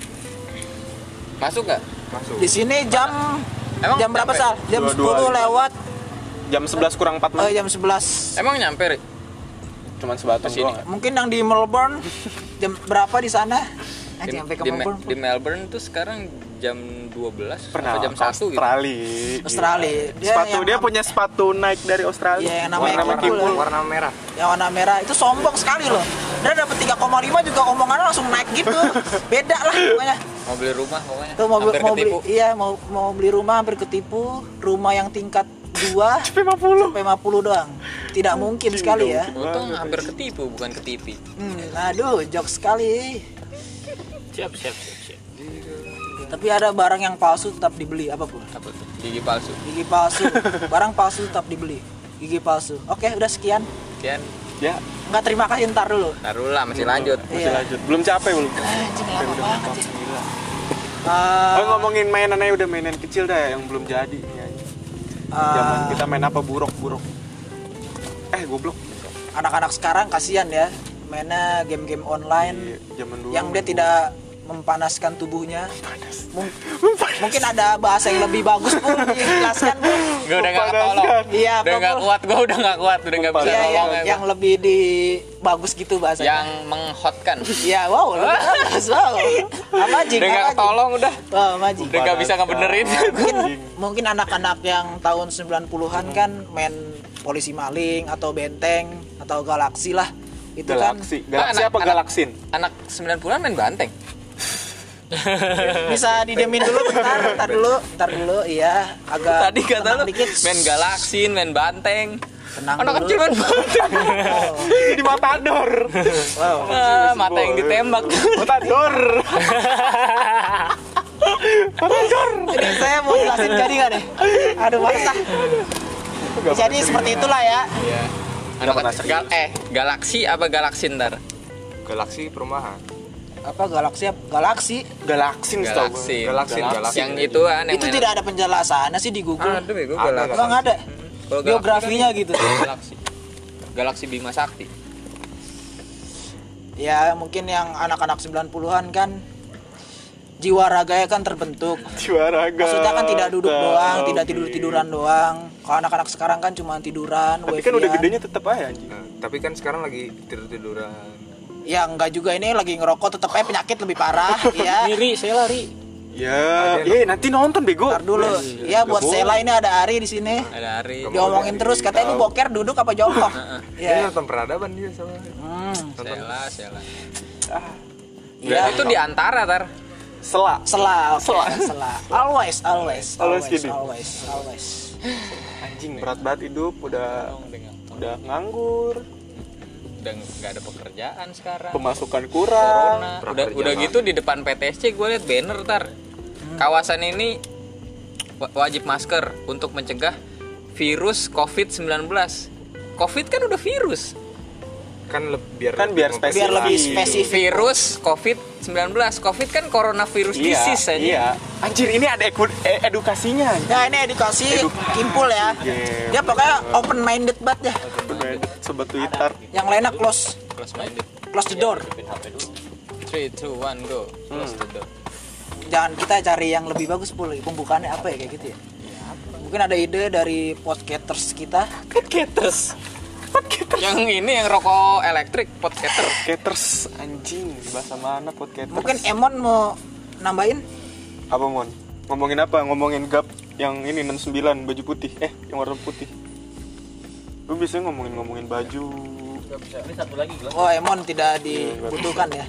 Speaker 3: Masuk nggak?
Speaker 6: masuk.
Speaker 1: Di sini jam
Speaker 3: Emang
Speaker 1: jam berapa
Speaker 3: nyampe?
Speaker 1: sal? Jam 10
Speaker 2: Dua-dua.
Speaker 1: lewat
Speaker 2: Jam 11 kurang 4
Speaker 1: eh,
Speaker 2: menit.
Speaker 1: jam 11.
Speaker 3: Emang nyampe, Ri?
Speaker 2: Cuman sebatas
Speaker 3: Kesini.
Speaker 2: doang.
Speaker 1: Mungkin yang di Melbourne jam berapa di sana?
Speaker 3: Di,
Speaker 1: Anjing sampai Ah, ke
Speaker 3: di Me-
Speaker 1: Melbourne.
Speaker 3: di Melbourne tuh sekarang jam 12
Speaker 2: Pernah
Speaker 3: atau jam 1 gitu.
Speaker 2: Australia.
Speaker 1: Australia.
Speaker 3: iya.
Speaker 1: Dia
Speaker 2: sepatu
Speaker 1: yang
Speaker 2: dia
Speaker 1: nam-
Speaker 2: punya sepatu Nike dari Australia.
Speaker 1: Iya, yang namanya
Speaker 2: Warna
Speaker 1: Kimpul.
Speaker 2: Kimpul.
Speaker 6: warna merah.
Speaker 1: yang warna merah itu sombong sekali loh. Dia dapat 3,5 juga omongannya langsung naik gitu. Beda lah pokoknya.
Speaker 3: Mau beli rumah pokoknya.
Speaker 1: Tuh mau, beli-
Speaker 3: Hampir
Speaker 1: mau beli
Speaker 3: ketipu.
Speaker 1: iya mau mau beli rumah hampir ketipu, rumah yang tingkat 2 sampai 50 doang. Tidak mungkin sekali ya.
Speaker 3: Untung hampir ketipu, bukan ketipi.
Speaker 1: Hmm, aduh, jok sekali.
Speaker 4: Siap, siap, siap, siap.
Speaker 1: Tapi ada barang yang palsu tetap dibeli, apa pun.
Speaker 3: Apa tuh? Gigi palsu.
Speaker 1: Gigi palsu, barang palsu tetap dibeli. Gigi palsu. Oke, udah sekian.
Speaker 3: Kian,
Speaker 2: Ya,
Speaker 1: Nggak terima kasih ntar dulu.
Speaker 3: taruhlah masih lanjut.
Speaker 1: Iya.
Speaker 2: masih lanjut. Belum capek belum.
Speaker 1: Eh, Anjing lama banget ya.
Speaker 2: Oh,
Speaker 1: Eh,
Speaker 2: ngomongin mainan aja udah mainan kecil dah yang belum jadi. Ya, Zaman
Speaker 1: eh,
Speaker 2: kita main apa buruk-buruk. Eh, goblok.
Speaker 1: anak-anak sekarang kasihan ya mainnya game-game online
Speaker 2: Iya, Zaman dulu.
Speaker 1: yang dia
Speaker 2: main
Speaker 1: tidak mempanaskan tubuhnya
Speaker 2: panas.
Speaker 1: Mung- mungkin ada bahasa yang lebih bagus pun dijelaskan Pul.
Speaker 3: Gue udah nggak
Speaker 2: Mempanaskan.
Speaker 3: tolong.
Speaker 1: iya
Speaker 3: Udah
Speaker 1: apa,
Speaker 3: nggak
Speaker 1: Pul?
Speaker 3: kuat, gue udah nggak kuat, udah nggak bisa
Speaker 1: Iya, yang,
Speaker 3: ngomong.
Speaker 1: yang lebih di bagus gitu
Speaker 3: yang
Speaker 1: bahasanya
Speaker 3: menghotkan.
Speaker 1: iya wow lebih bagus wow apa jing
Speaker 3: Udah nggak
Speaker 1: apa Jing? Oh,
Speaker 3: tolong udah.
Speaker 1: Wah, majing
Speaker 3: Udah nggak bisa ngebenerin.
Speaker 1: mungkin mungkin anak-anak yang tahun 90-an kan main polisi maling atau benteng atau galaksi lah itu
Speaker 2: Galaksi. Galaksi
Speaker 3: Anak-
Speaker 2: apa
Speaker 3: anak-
Speaker 2: galaksin?
Speaker 3: Anak 90-an main banteng.
Speaker 1: kan bisa didemin dulu bentar bentar dulu bentar dulu iya agak
Speaker 3: Tadi kata
Speaker 1: tenang
Speaker 3: lu
Speaker 1: dikit.
Speaker 3: main galaksin, main banteng.
Speaker 1: Tenang
Speaker 3: Anak
Speaker 1: dulu.
Speaker 3: kecil main [LAUGHS] banteng.
Speaker 1: Oh,
Speaker 2: Di Matador.
Speaker 1: wow.
Speaker 3: Ah, mata yang ditembak.
Speaker 2: Matador.
Speaker 1: Jadi saya mau jelasin jadi nggak nih? Aduh, masa. Jadi seperti itulah ya.
Speaker 2: Nggak pernah
Speaker 3: Anak
Speaker 2: serius.
Speaker 3: gal eh galaksi apa galaksi ntar?
Speaker 6: Galaksi perumahan.
Speaker 1: apa galaksi galaksi
Speaker 2: Galaksin setahu gue.
Speaker 3: Galaksi.
Speaker 6: Galaksi, galaksi.
Speaker 3: Yang ituan yang Ah,
Speaker 1: itu
Speaker 3: mainan.
Speaker 1: tidak ada penjelasannya sih di Google
Speaker 3: Aduh, bego
Speaker 6: Ada,
Speaker 3: galaksi.
Speaker 1: emang ada
Speaker 3: Kalau galaksi
Speaker 1: biografinya gitu
Speaker 3: kan Galaksi. Galaksi Bima Sakti.
Speaker 1: ya mungkin yang anak-anak 90-an kan jiwa raganya kan terbentuk
Speaker 2: Jiwa raga.
Speaker 1: maksudnya kan tidak duduk doang
Speaker 2: Tahu.
Speaker 1: tidak tidur tiduran doang kalau anak-anak sekarang kan cuma tiduran
Speaker 2: Tapi kan udah
Speaker 1: wifi-an.
Speaker 2: gedenya tetap aja anjing.
Speaker 6: Nah, tapi kan sekarang lagi tidur tiduran.
Speaker 1: ya enggak juga ini lagi ngerokok tetep aja penyakit lebih
Speaker 2: [LAUGHS]
Speaker 1: parah ya
Speaker 4: Lari, saya lari.
Speaker 2: Ya,
Speaker 6: Ada yang-
Speaker 2: eh nanti nonton bego.
Speaker 1: Ntar dulu ya buat Sela ini ada Ari di sini
Speaker 3: Ada hari.
Speaker 6: Kamu-
Speaker 1: diomongin terus katanya ini boker duduk apa jongkok
Speaker 6: Dia
Speaker 2: Iya.
Speaker 1: ya
Speaker 6: nonton peradaban dia sama.
Speaker 1: Hmm,
Speaker 3: Sela, sela.
Speaker 2: Ah, iya.
Speaker 3: Berarti
Speaker 1: ya.
Speaker 3: itu kan. gitu di antara tar.
Speaker 2: [LAUGHS] Sela.
Speaker 1: Sela, oke, sela. Always, always, always,
Speaker 2: Always
Speaker 1: always,
Speaker 2: gini.
Speaker 1: always, always.
Speaker 2: Anjing berat banget hidup udah udah nganggur,
Speaker 3: Udah nggak ada pekerjaan sekarang.
Speaker 2: pemasukan
Speaker 3: Corona.
Speaker 2: kurang.
Speaker 3: Udah udah gitu di depan PTSC gue liat banner tar.
Speaker 2: Hmm.
Speaker 3: Kawasan ini wa- wajib masker untuk mencegah virus COVID-19. COVID kan udah virus.
Speaker 6: Kan le- biar
Speaker 2: Kan biar
Speaker 6: lebih
Speaker 1: Biar lebih
Speaker 2: Iya.
Speaker 1: spesifik.
Speaker 3: Virus COVID-19. COVID kan coronavirus
Speaker 2: Iya,
Speaker 3: disease aja.
Speaker 2: iya. Anjir ini ada eku- e- edukasinya. anjing.
Speaker 1: Nah ini edukasi kimpul ya.
Speaker 2: Iya.
Speaker 1: Dia pokoknya open minded banget ya.
Speaker 2: Sobat Twitter.
Speaker 1: Yang lainnya close,
Speaker 3: Close minded.
Speaker 1: close the door.
Speaker 3: 3, 2, 1, go. Close the door.
Speaker 1: Jangan kita cari yang lebih bagus pul. Pembukaannya apa ya kayak gitu ya. Mungkin ada ide dari podcasters kita.
Speaker 2: Podcasters.
Speaker 3: Yang ini yang rokok elektrik, podcaster.
Speaker 2: Podcasters anjing bahasa mana podcasters?
Speaker 1: Mungkin Emon mau nambahin
Speaker 2: apa mon? Ngomongin apa? Ngomongin gap yang ini 69 baju putih. Eh, yang warna putih. Lu biasanya ngomongin-ngomongin baju.
Speaker 1: Oh Emon tidak dibutuhkan ya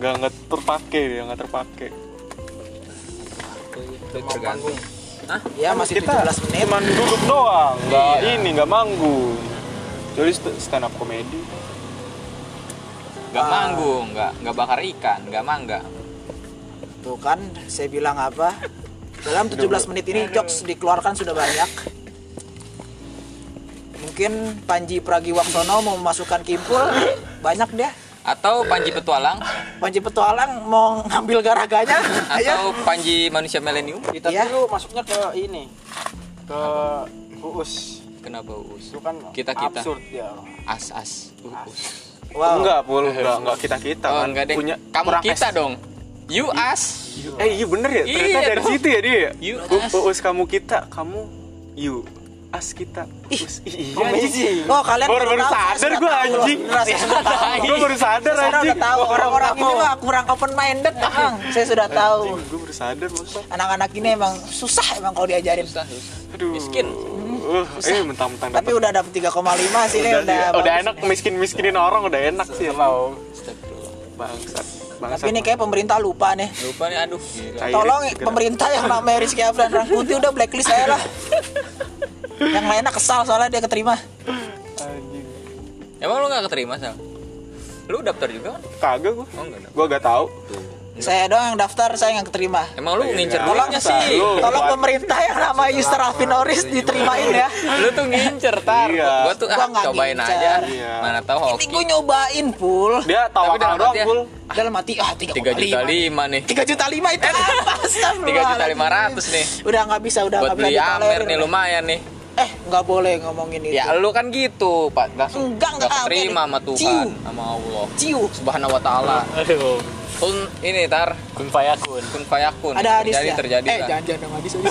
Speaker 2: Nggak nggak terpakai dia, nggak terpakai.
Speaker 3: Itu tergantung.
Speaker 1: Ya masih
Speaker 2: Kita
Speaker 1: 17 menit
Speaker 2: cuman duduk doang, nggak
Speaker 3: Iya.
Speaker 2: ini nggak manggung. Jadi st- stand up comedy. Ah.
Speaker 3: Nggak manggung, nggak nggak bakar ikan, nggak mangga.
Speaker 1: Tuh kan saya bilang apa Dalam 17 menit ini jokes dikeluarkan sudah banyak Mungkin Panji Pragiwaksono mau memasukkan kimpul Banyak dia
Speaker 3: Atau Panji Petualang,
Speaker 1: Panji Petualang mau ngambil garaganya
Speaker 3: atau
Speaker 1: Ayo
Speaker 3: Panji Manusia Milenium.
Speaker 5: Kita
Speaker 1: Iya.
Speaker 5: dulu masuknya ke ini.
Speaker 2: Ke Uus,
Speaker 3: Kenapa us?
Speaker 5: Itu kan
Speaker 3: Kita kita
Speaker 5: absurd ya.
Speaker 3: as as Uh, us.
Speaker 1: Wow
Speaker 2: Enggak, pul, enggak, enggak kita-kita
Speaker 3: Eh, Oh,
Speaker 2: kan.
Speaker 3: enggak deh.
Speaker 2: Punya
Speaker 3: Kamu
Speaker 2: kurang
Speaker 3: kita
Speaker 2: es.
Speaker 3: dong. You us.
Speaker 2: Eh, iya bener ya. Ternyata
Speaker 3: Iya
Speaker 2: dari
Speaker 3: dong.
Speaker 2: situ ya dia. ya?
Speaker 3: You
Speaker 2: U-
Speaker 3: us.
Speaker 2: Uus kamu kita, kamu you as kita. Us. Ih, Iya, anjing.
Speaker 1: Oh kalian
Speaker 2: Baru- baru
Speaker 1: tahu,
Speaker 2: sadar gua,
Speaker 1: saya sudah tahu loh.
Speaker 2: anjing.
Speaker 1: Beneran, saya sudah tahu.
Speaker 2: Gue baru sadar
Speaker 1: Saya
Speaker 2: anjing.
Speaker 1: sudah tahu orang-orang ini
Speaker 2: Wow.
Speaker 1: mah kurang open minded emang. Saya sudah tahu.
Speaker 2: Anjing, gue baru sadar masa.
Speaker 1: Anak-anak ini emang susah emang kalau diajarin.
Speaker 3: Susah, susah.
Speaker 2: Aduh.
Speaker 3: Miskin.
Speaker 2: Uh, eh mentang-mentang
Speaker 1: Tapi
Speaker 2: dapet-
Speaker 1: udah dapat 3,5 sih ini
Speaker 2: udah,
Speaker 1: udah.
Speaker 2: udah
Speaker 1: bagus.
Speaker 2: enak miskin-miskinin orang udah enak sih mau bangsat. Bangsat.
Speaker 1: Tapi ini kayak pemerintah lupa nih.
Speaker 3: Lupa nih aduh. Gila.
Speaker 2: Cairin
Speaker 1: Tolong
Speaker 2: segera.
Speaker 1: pemerintah yang namanya Rizky Afran Rangkuti udah blacklist saya lah. Yang lainnya kesal soalnya dia keterima.
Speaker 2: Anjing.
Speaker 3: Emang lu nggak keterima sal? Lu daftar juga kan?
Speaker 2: Kagak gue.
Speaker 3: Oh enggak.
Speaker 2: Gue gak tahu.
Speaker 1: Saya doang yang daftar, saya yang keterima.
Speaker 3: Emang lu ngincer
Speaker 2: enggak.
Speaker 3: duitnya sih.
Speaker 2: Iya, Lu-
Speaker 1: Tolong pemerintah yang namanya Yusra Afinoris diterimain ya.
Speaker 3: lu tuh ngincer tar
Speaker 2: Iya.
Speaker 3: gua tuh ah,
Speaker 1: Gua nggak
Speaker 3: cobain
Speaker 1: ngincer.
Speaker 3: aja
Speaker 2: Iya.
Speaker 3: mana tahu
Speaker 1: Ini
Speaker 3: hoki
Speaker 1: gue nyobain pul.
Speaker 2: Dia
Speaker 3: Tapi dalam
Speaker 2: tawakal doang,
Speaker 3: hati ya.
Speaker 2: Pul.
Speaker 1: dalam hati ah tiga
Speaker 3: tiga juta lima nih
Speaker 1: tiga juta lima itu apa
Speaker 3: tiga juta lima ratus nih
Speaker 1: udah nggak bisa udah
Speaker 3: buat
Speaker 1: nggak
Speaker 3: beli
Speaker 1: bisa
Speaker 3: Amer
Speaker 1: ditolerir.
Speaker 3: nih lumayan nih
Speaker 1: eh nggak boleh ngomongin itu
Speaker 3: ya lu kan gitu pak langsung
Speaker 1: Enggak, ah, enggak, Amer.
Speaker 3: terima sama
Speaker 1: Ciu.
Speaker 3: Tuhan sama Allah
Speaker 1: ciu
Speaker 3: subhanahu wa taala
Speaker 4: Aduh,
Speaker 3: kun ini tar
Speaker 4: kun fayakun.
Speaker 3: kun fayakun
Speaker 1: ada hadis
Speaker 3: terjadi
Speaker 1: ya
Speaker 3: terjadi
Speaker 1: eh
Speaker 3: lah.
Speaker 1: jangan jangan dong hadis hadis.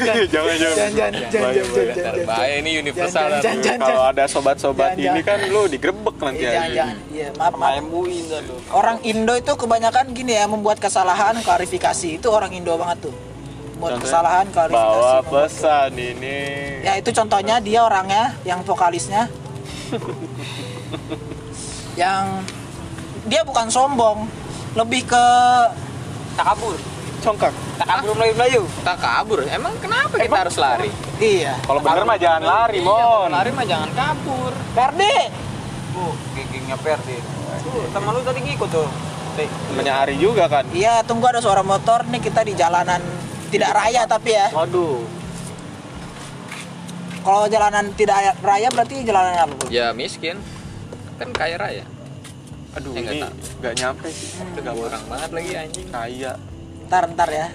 Speaker 2: [LAUGHS] Jangan jangan.
Speaker 1: jangan jangan
Speaker 2: Boleh,
Speaker 1: jangan jangan
Speaker 2: boleh.
Speaker 1: jangan
Speaker 3: Tar,
Speaker 1: jangan
Speaker 3: bahaya ini universal
Speaker 1: Jangan,
Speaker 3: tar.
Speaker 1: jangan, jangan.
Speaker 2: Kalau ada sobat-sobat
Speaker 1: Jangan,
Speaker 2: ini kan lu digerebek
Speaker 1: Eh,
Speaker 2: nanti.
Speaker 1: jangan
Speaker 2: anjing.
Speaker 1: jangan iya maaf maaf
Speaker 5: MUI enggak tuh.
Speaker 1: orang Indo itu kebanyakan gini ya membuat kesalahan klarifikasi itu orang Indo banget tuh
Speaker 2: Contohnya,
Speaker 1: buat iya. kesalahan klarifikasi
Speaker 2: Bawa
Speaker 1: membuat-
Speaker 2: pesan ini.
Speaker 1: ya itu contohnya dia orangnya yang vokalisnya yang dia bukan sombong lebih ke
Speaker 5: Tak kabur.
Speaker 2: Congkak.
Speaker 5: Tak kabur melayu-melayu.
Speaker 3: kita kabur emang kenapa kita harus lari Iya,
Speaker 1: iya
Speaker 2: Kalau bener mah jangan lari, Mon.
Speaker 3: lari mah jangan kabur
Speaker 1: Perdi
Speaker 5: Bu, gengnya Perdi. Tuh, teman lu tadi ngikut tuh. Teh.
Speaker 2: Temennya Ari juga kan.
Speaker 1: iya tunggu ada suara motor nih kita di jalanan tidak raya tapi ya
Speaker 5: Waduh.
Speaker 1: Kalau jalanan tidak raya berarti jalanan apa? Bro?
Speaker 3: ya miskin kan kaya raya
Speaker 2: aduh
Speaker 3: Eh, nggak
Speaker 2: ini
Speaker 3: tahu.
Speaker 2: nggak nyampe sih itu nggak
Speaker 3: kurang banget lagi anjing
Speaker 2: kaya
Speaker 1: Ntar ntar ya.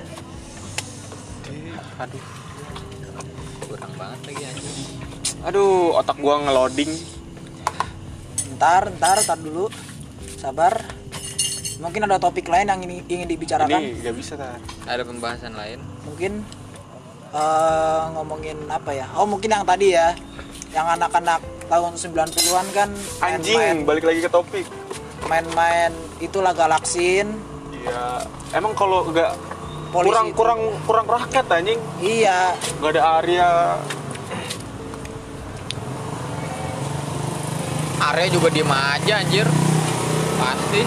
Speaker 2: aduh
Speaker 3: kurang banget lagi anjing
Speaker 2: aduh otak gua ngeloading
Speaker 1: Ntar ntar ntar dulu. Sabar. Mungkin ada topik lain yang ini- ingin dibicarakan.
Speaker 2: ini nggak bisa tar
Speaker 3: ada pembahasan lain
Speaker 1: mungkin eh, ngomongin apa ya oh mungkin yang tadi ya yang anak-anak tahun 90-an kan
Speaker 2: anjing balik lagi ke topik
Speaker 1: main-main itulah galaksin
Speaker 2: iya emang kalau nggak
Speaker 1: Polisi
Speaker 2: kurang
Speaker 1: itu.
Speaker 2: kurang kurang rakyat anjing
Speaker 1: iya
Speaker 2: nggak ada area
Speaker 3: area juga diem aja anjir pasti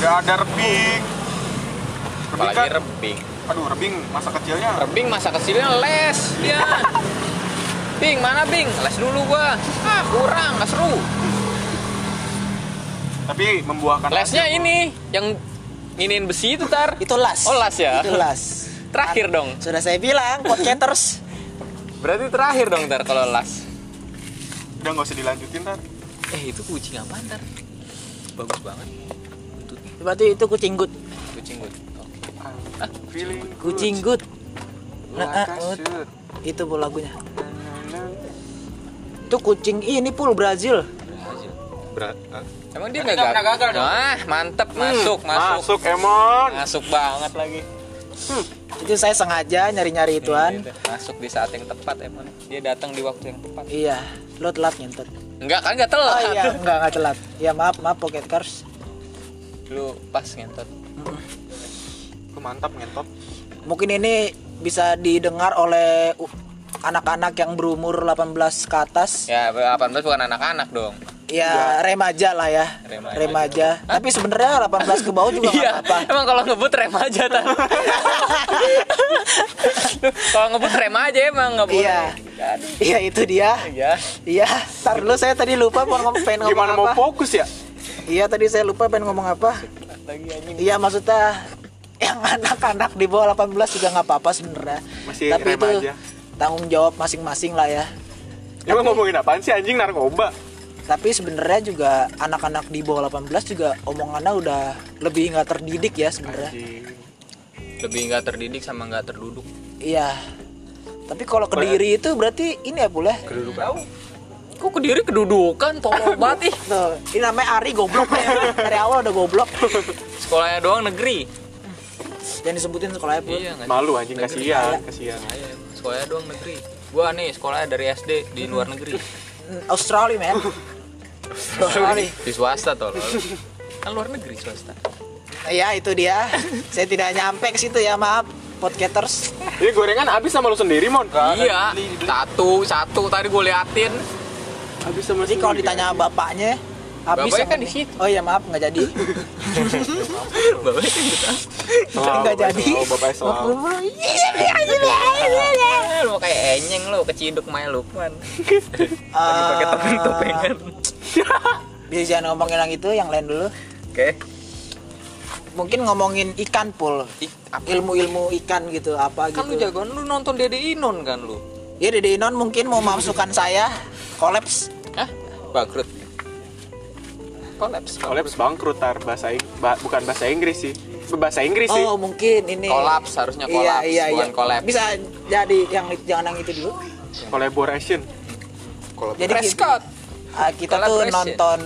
Speaker 2: nggak ada rebing rebing
Speaker 3: apalagi
Speaker 2: kan
Speaker 3: rebing
Speaker 2: aduh rebing masa kecilnya
Speaker 3: rebing masa kecilnya les dia Bing, mana Bing? Les dulu gua. Ah, kurang, gak seru.
Speaker 2: tapi membuahkan
Speaker 3: Lesnya
Speaker 2: hasil.
Speaker 3: ini yang nginin besi itu tar.
Speaker 1: itu las
Speaker 3: Oh, las ya?
Speaker 1: itu las
Speaker 3: Terakhir dong.
Speaker 1: sudah saya bilang podcasters
Speaker 3: Berarti terakhir dong ntar kalau las.
Speaker 2: udah nggak usah dilanjutin tar
Speaker 3: Eh itu kucing apa ntar? Bagus banget.
Speaker 1: berarti itu kucing good
Speaker 3: Kucing gue.
Speaker 2: feeling
Speaker 1: kucing good
Speaker 2: Nah,
Speaker 1: Nah, eh, itu bu lagunya itu kucing ini pul Brazil
Speaker 6: Berat. ah.
Speaker 3: Emang dia nggak gagal? Wah mantep masuk masuk
Speaker 2: masuk emon
Speaker 3: Hmm, masuk banget lagi.
Speaker 1: itu saya sengaja nyari-nyari ituan
Speaker 3: Gitu. Masuk di saat yang tepat emang. Dia datang di waktu yang tepat.
Speaker 1: iya lo telat nyentot
Speaker 3: Enggak kan nggak telat.
Speaker 1: oh iya enggak enggak telat ya maaf maaf pocket cars
Speaker 3: Lu pas ngentot.
Speaker 2: Lu mantap ngentot
Speaker 1: mungkin ini bisa didengar oleh u- anak-anak yang berumur 18 ke atas
Speaker 3: Ya 18 bukan anak-anak dong.
Speaker 1: ya remaja lah ya
Speaker 3: Remaja.
Speaker 1: remaja, tapi sebenarnya 18 ke bawah juga
Speaker 3: [LAUGHS]
Speaker 1: nggak
Speaker 3: Iya,
Speaker 1: apa-apa
Speaker 3: emang kalau ngebut rem aja tan. kalau ngebut rem aja emang ngebut.
Speaker 1: iya iya itu dia
Speaker 3: Iya.
Speaker 1: iya tar dulu saya tadi lupa mau ngom- pengen ngomong
Speaker 2: gimana mau
Speaker 1: apa
Speaker 2: fokus ya
Speaker 1: iya tadi saya lupa pengen ngomong apa
Speaker 3: Lagi anjing.
Speaker 1: iya maksudnya yang [LAUGHS] anak-anak di bawah 18 juga nggak apa-apa sebenarnya
Speaker 2: Masih
Speaker 1: tapi itu
Speaker 2: remaja.
Speaker 1: tanggung jawab masing-masing lah ya
Speaker 2: emang ngomongin apaan sih anjing narkoba
Speaker 1: tapi sebenarnya juga anak-anak di bawah 18 juga omongannya udah lebih nggak terdidik ya sebenarnya
Speaker 3: Lebih nggak terdidik sama nggak terduduk.
Speaker 1: iya tapi kalau kediri itu berarti ini ya pula
Speaker 3: Kok kediri kedudukan tolol banget ih.
Speaker 1: Tuh, ini namanya Ari goblok ya. dari awal udah goblok
Speaker 3: Sekolahnya doang negeri.
Speaker 1: jangan disebutin sekolahnya pun
Speaker 3: Iya nggak?
Speaker 2: malu anjing kasihan kasihan
Speaker 3: Iya, Sekolahnya doang negeri. Gua nih sekolahnya dari SD di luar negeri.
Speaker 1: Mm, Australia men Australia
Speaker 3: Di swasta tolol. Kan luar negeri swasta.
Speaker 1: iya itu dia saya tidak nyampe ke situ ya maaf podcasters
Speaker 2: ini gorengan habis sama lu sendiri mon
Speaker 3: Iya, satu satu tadi gue liatin.
Speaker 2: habis sama
Speaker 1: jadi kalau ditanya bapaknya habis
Speaker 3: Bapaknya
Speaker 1: yang
Speaker 3: kan
Speaker 1: ini.
Speaker 3: di situ.
Speaker 1: oh iya maaf nggak jadi
Speaker 3: Bapak
Speaker 1: nggak jadi
Speaker 2: selalu, bapaknya selalu.
Speaker 3: lu kayak enyeng lu keciduk main
Speaker 1: [LAUGHS]
Speaker 3: lukman.
Speaker 1: Eh,
Speaker 3: pakai topeng-topengan.
Speaker 1: bisa jangan ngomongin yang itu yang lain dulu
Speaker 3: Oke.
Speaker 1: mungkin ngomongin ikan pul ilmu-ilmu ikan gitu apa
Speaker 3: Kan lu
Speaker 1: gitu
Speaker 3: jagoan lu nonton Dede Inon kan lu?
Speaker 1: ya Dede Inon mungkin mau memasukkan saya kolaps
Speaker 3: Hah? Bangkrut. Kolaps.
Speaker 2: Collapse bangkrut tar bahasa Ing- ba- bukan bahasa Inggris sih bahasa Inggris sih
Speaker 1: oh mungkin ini
Speaker 3: Kolaps, harusnya kolaps,
Speaker 1: iya, iya,
Speaker 3: bukan
Speaker 1: iya.
Speaker 3: kolaps.
Speaker 1: bisa jadi yang jangan yang itu dulu
Speaker 2: collaboration
Speaker 5: Iya,
Speaker 1: jadi kita,
Speaker 3: Prescott.
Speaker 1: ah, kita tuh
Speaker 3: Collaboration.
Speaker 1: nonton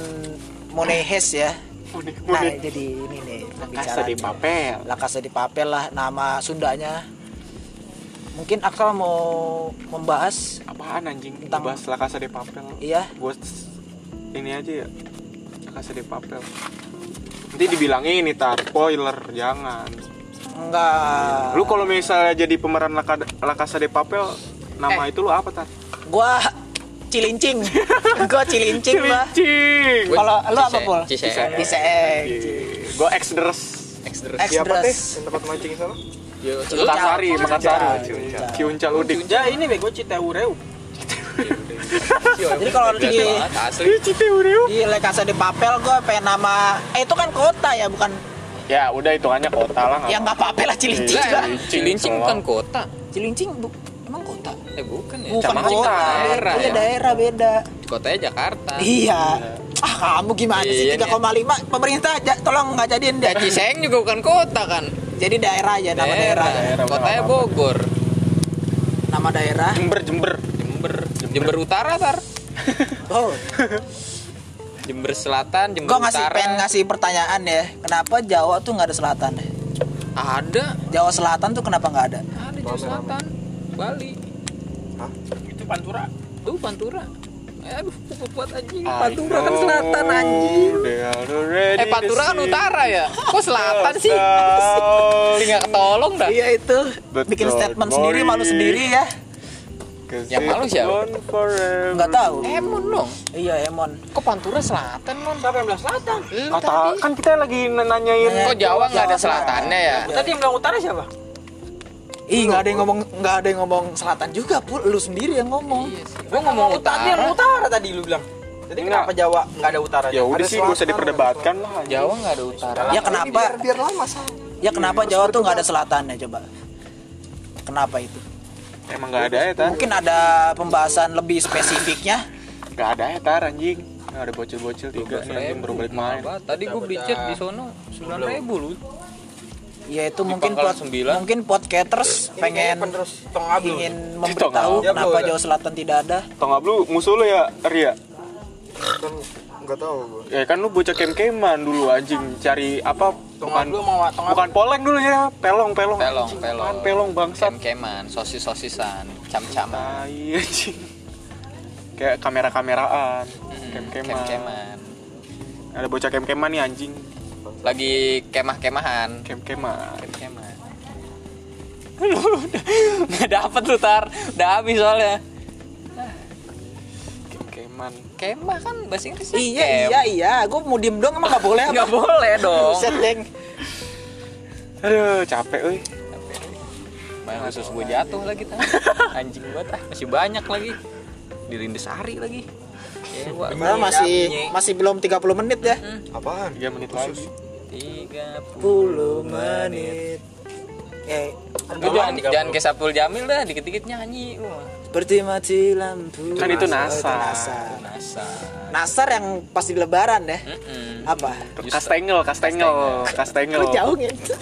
Speaker 1: Monehes ya
Speaker 2: unik
Speaker 1: nah
Speaker 2: unik
Speaker 1: jadi ini nih
Speaker 2: kasa di
Speaker 1: pembicaraan
Speaker 2: papel
Speaker 1: La Casa di Papel lah nama Sundanya mungkin Aksa mau membahas
Speaker 2: apaan anjing
Speaker 1: Tentang-
Speaker 2: bahas la casa de papel
Speaker 1: iya
Speaker 2: gue ini aja ya la casa de papel nanti dibilangin ini tar spoiler jangan
Speaker 1: enggak
Speaker 2: lu kalau misalnya jadi pemeran la, Ca- La casa de papel nama itu lu apa tar
Speaker 1: gua
Speaker 3: [LAUGHS]
Speaker 1: cilincing gua cilincing lah
Speaker 2: cing
Speaker 1: kalau lu apa pul
Speaker 2: eh.
Speaker 3: Ciseng.
Speaker 1: Ciseng.
Speaker 2: gue ex deres
Speaker 1: Ex
Speaker 2: siapa teh
Speaker 1: deres.
Speaker 2: yang tempat mancing sana
Speaker 1: Ciuncal.
Speaker 2: Makassari Makassari
Speaker 1: Ciuncal.
Speaker 2: Ciuncal Udik
Speaker 5: Ya ini bego Citeureu.
Speaker 1: Jadi kalau nanti di,
Speaker 3: asli
Speaker 1: di La Casa de Papel gue pengen nama eh itu kan kota ya bukan
Speaker 2: ya
Speaker 1: Ya,
Speaker 2: udah hitungannya kota lah nggak
Speaker 1: yang nggak papel lah cilincing
Speaker 2: Oh. Iya.
Speaker 1: lah.
Speaker 3: Cilincing bukan kota.
Speaker 1: Cilincing bu- emang kota?
Speaker 3: eh bukan ya
Speaker 1: Bukan
Speaker 3: Cabang daerah
Speaker 1: Iya,
Speaker 3: ya.
Speaker 1: daerah beda.
Speaker 3: di kotanya Jakarta
Speaker 1: Iya. Ah, kamu gimana sih
Speaker 3: Iya,
Speaker 1: 3,5 pemerintah ja- tolong nggak jadiin deh.
Speaker 3: ya Ciseng juga bukan kota kan
Speaker 1: Jadi daerah aja nama daerah.
Speaker 3: daerah, kotanya Bogor
Speaker 1: Nama daerah.
Speaker 2: Jember, Jember.
Speaker 3: Jember Jember Utara tar
Speaker 1: Oh,
Speaker 3: Jember Selatan Jember
Speaker 1: gua ngasih
Speaker 3: Utara
Speaker 1: pengen ngasih pertanyaan ya. Kenapa Jawa tuh nggak ada selatan ya?
Speaker 3: ada
Speaker 1: Jawa Selatan tuh kenapa nggak ada?
Speaker 3: ada Jawa Selatan Bali
Speaker 4: Itu Pantura.
Speaker 3: tuh Pantura aduh gua kuat anjing Pantura kan Selatan anjing eh Pantura kan Utara ya kok Selatan sih [LAUGHS] tinggal ketolong dah
Speaker 1: Iya itu.
Speaker 2: Betul,
Speaker 1: Bikin statement
Speaker 2: boy.
Speaker 1: sendiri malu sendiri ya.
Speaker 3: Yang malu
Speaker 2: Eh,
Speaker 3: siapa?
Speaker 1: Nggak tahu.
Speaker 3: Emon dong
Speaker 1: Iya, Emon.
Speaker 3: kok Pantura Selatan mon
Speaker 5: Siapa yang bilang selatan?
Speaker 3: Lu
Speaker 2: Nggak tahu.
Speaker 3: tadi.
Speaker 2: Kan kita lagi nanyain
Speaker 1: Nah,
Speaker 3: kok Jawa nggak ada
Speaker 1: Jawa Iya.
Speaker 3: selatannya ya
Speaker 5: Tadi yang bilang utara siapa?
Speaker 1: Ih, nggak ada yang ngomong nggak ada yang ngomong selatan juga, Pul. Lu sendiri yang ngomong.
Speaker 3: gua
Speaker 5: Tadi yang
Speaker 3: ngomong utara
Speaker 5: Iya Kan utara tadi lu bilang. Jadi kenapa Jawa nggak ada utara?
Speaker 2: Ya udah sih, gak usah diperdebatkan lah.
Speaker 3: Jawa nggak ada utara
Speaker 1: Ya kenapa? Ya kenapa Jawa tuh nggak ada selatannya coba? Kenapa itu?
Speaker 2: Emang nggak ada ya, Tar?
Speaker 1: Mungkin ada pembahasan lebih spesifiknya.
Speaker 2: Nggak ada ya, Tar, anjing. Nggak ada ya. bocil-bocil tiga nih yang baru balik main.
Speaker 3: Apa? Tadi gue beli chat di sono sembilan ribu lu.
Speaker 1: Yaitu
Speaker 3: Di
Speaker 1: mungkin
Speaker 3: Pangkalan
Speaker 1: pod-
Speaker 3: Sembilan.
Speaker 1: mungkin podcasters
Speaker 6: Iya,
Speaker 1: pengen
Speaker 5: terus tengah abdul.
Speaker 1: ingin memberitahu
Speaker 5: Dia
Speaker 1: kenapa
Speaker 5: belum.
Speaker 1: Jawa Selatan tidak ada.
Speaker 2: Tonggap lu musuh lu ya, Ria?
Speaker 6: kan nggak tahu gue
Speaker 2: Ya kan lu bocah kem-keman dulu anjing cari apa
Speaker 5: Tengah
Speaker 2: bukan
Speaker 5: dulu mau tengah
Speaker 2: bukan poleng dulu ya, pelong pelong.
Speaker 3: Pelong,
Speaker 2: Anjing,
Speaker 3: pelong.
Speaker 2: apaan pelong bangsat.
Speaker 3: Kem-keman, sosis-sosisan, cam-caman,
Speaker 2: Tai anjing. Kayak kamera-kameraan, kem-keman.
Speaker 3: Hmm, kem-keman.
Speaker 2: Ada bocah kem-keman nih anjing,
Speaker 3: Lagi kemah-kemahan.
Speaker 2: kem-keman.
Speaker 3: Kem-keman. Lu udah- [LAUGHS] nggak dapet lu tar, udah habis soalnya.
Speaker 2: Kem-keman.
Speaker 3: Kemah kan bahasa Inggris.
Speaker 1: Iya iya iya, gue mau diem doang emang nggak boleh apa?
Speaker 3: Nggak boleh dong.
Speaker 1: Buset, Deng.
Speaker 2: Aduh, capek euy.
Speaker 3: Main khusus gue jatuh lagi tar. Anjing banget ah, masih banyak lagi. Dirindes hari lagi. Dewa.
Speaker 1: Padahal masih masih belum 30 menit ya.
Speaker 6: Hmm. apaan
Speaker 5: Iya,
Speaker 2: 3 menit lagi.
Speaker 3: Tiga puluh.
Speaker 1: 10 menit. Ya,
Speaker 3: Lu jangan, jangan kayak Sapul Jamil dah, dikit-dikit nyanyi lu mah.
Speaker 1: seperti mati lampu.
Speaker 2: Kan itu
Speaker 1: Nasar,
Speaker 2: Nasar.
Speaker 1: Nasar.
Speaker 3: Nasa.
Speaker 1: Nasar yang pas di lebaran ya.
Speaker 3: Mm-mm. [LAUGHS]
Speaker 1: Apa?
Speaker 2: Kastengel, kastengel, kastengel.
Speaker 1: Lu jauh gitu.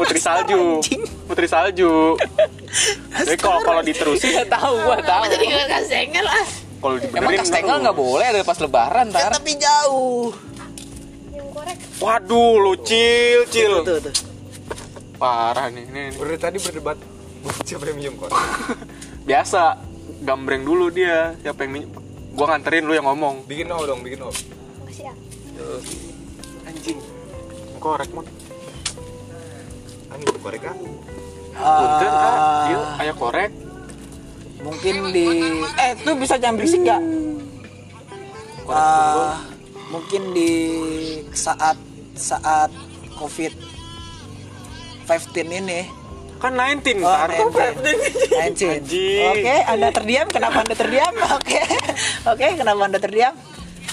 Speaker 2: Putri salju.
Speaker 1: [LAUGHS] anjing.
Speaker 2: Putri salju. Jadi kalau kalau diterusin,
Speaker 3: Iya tahu gua tahu.
Speaker 2: kalau
Speaker 3: Emang
Speaker 2: dibenerin
Speaker 3: kastengel nggak boleh ada pas lebaran
Speaker 1: Ya,
Speaker 3: tar.
Speaker 1: tapi jauh.
Speaker 2: Waduh, lu cil, cil.
Speaker 1: Tuh tuh.
Speaker 2: Parah nih, nih, nih. [LAUGHS]
Speaker 6: Ber- tadi berdebat [LAUGHS] siapa yang minjem kok
Speaker 2: Biasa gambreng dulu dia. Siapa yang min- gua nganterin lu yang ngomong.
Speaker 6: bikin no dong bikin no
Speaker 2: Anjing. Korek, Mon.
Speaker 6: anu korek ah
Speaker 2: Punten, Kak.
Speaker 1: Ah,
Speaker 2: Yuk, "Kan, iya, ayo korek.
Speaker 1: mungkin di eh tuh bisa jangan berisik nggak? Ah, mungkin di saat saat covid 15 ini
Speaker 2: Kan 19,
Speaker 1: Oh,
Speaker 2: Tar.
Speaker 1: 19. 19.
Speaker 2: Anjing.
Speaker 1: Oke, Anda terdiam. Kenapa Anda terdiam? [LAUGHS] Oke. Oke, kenapa Anda terdiam?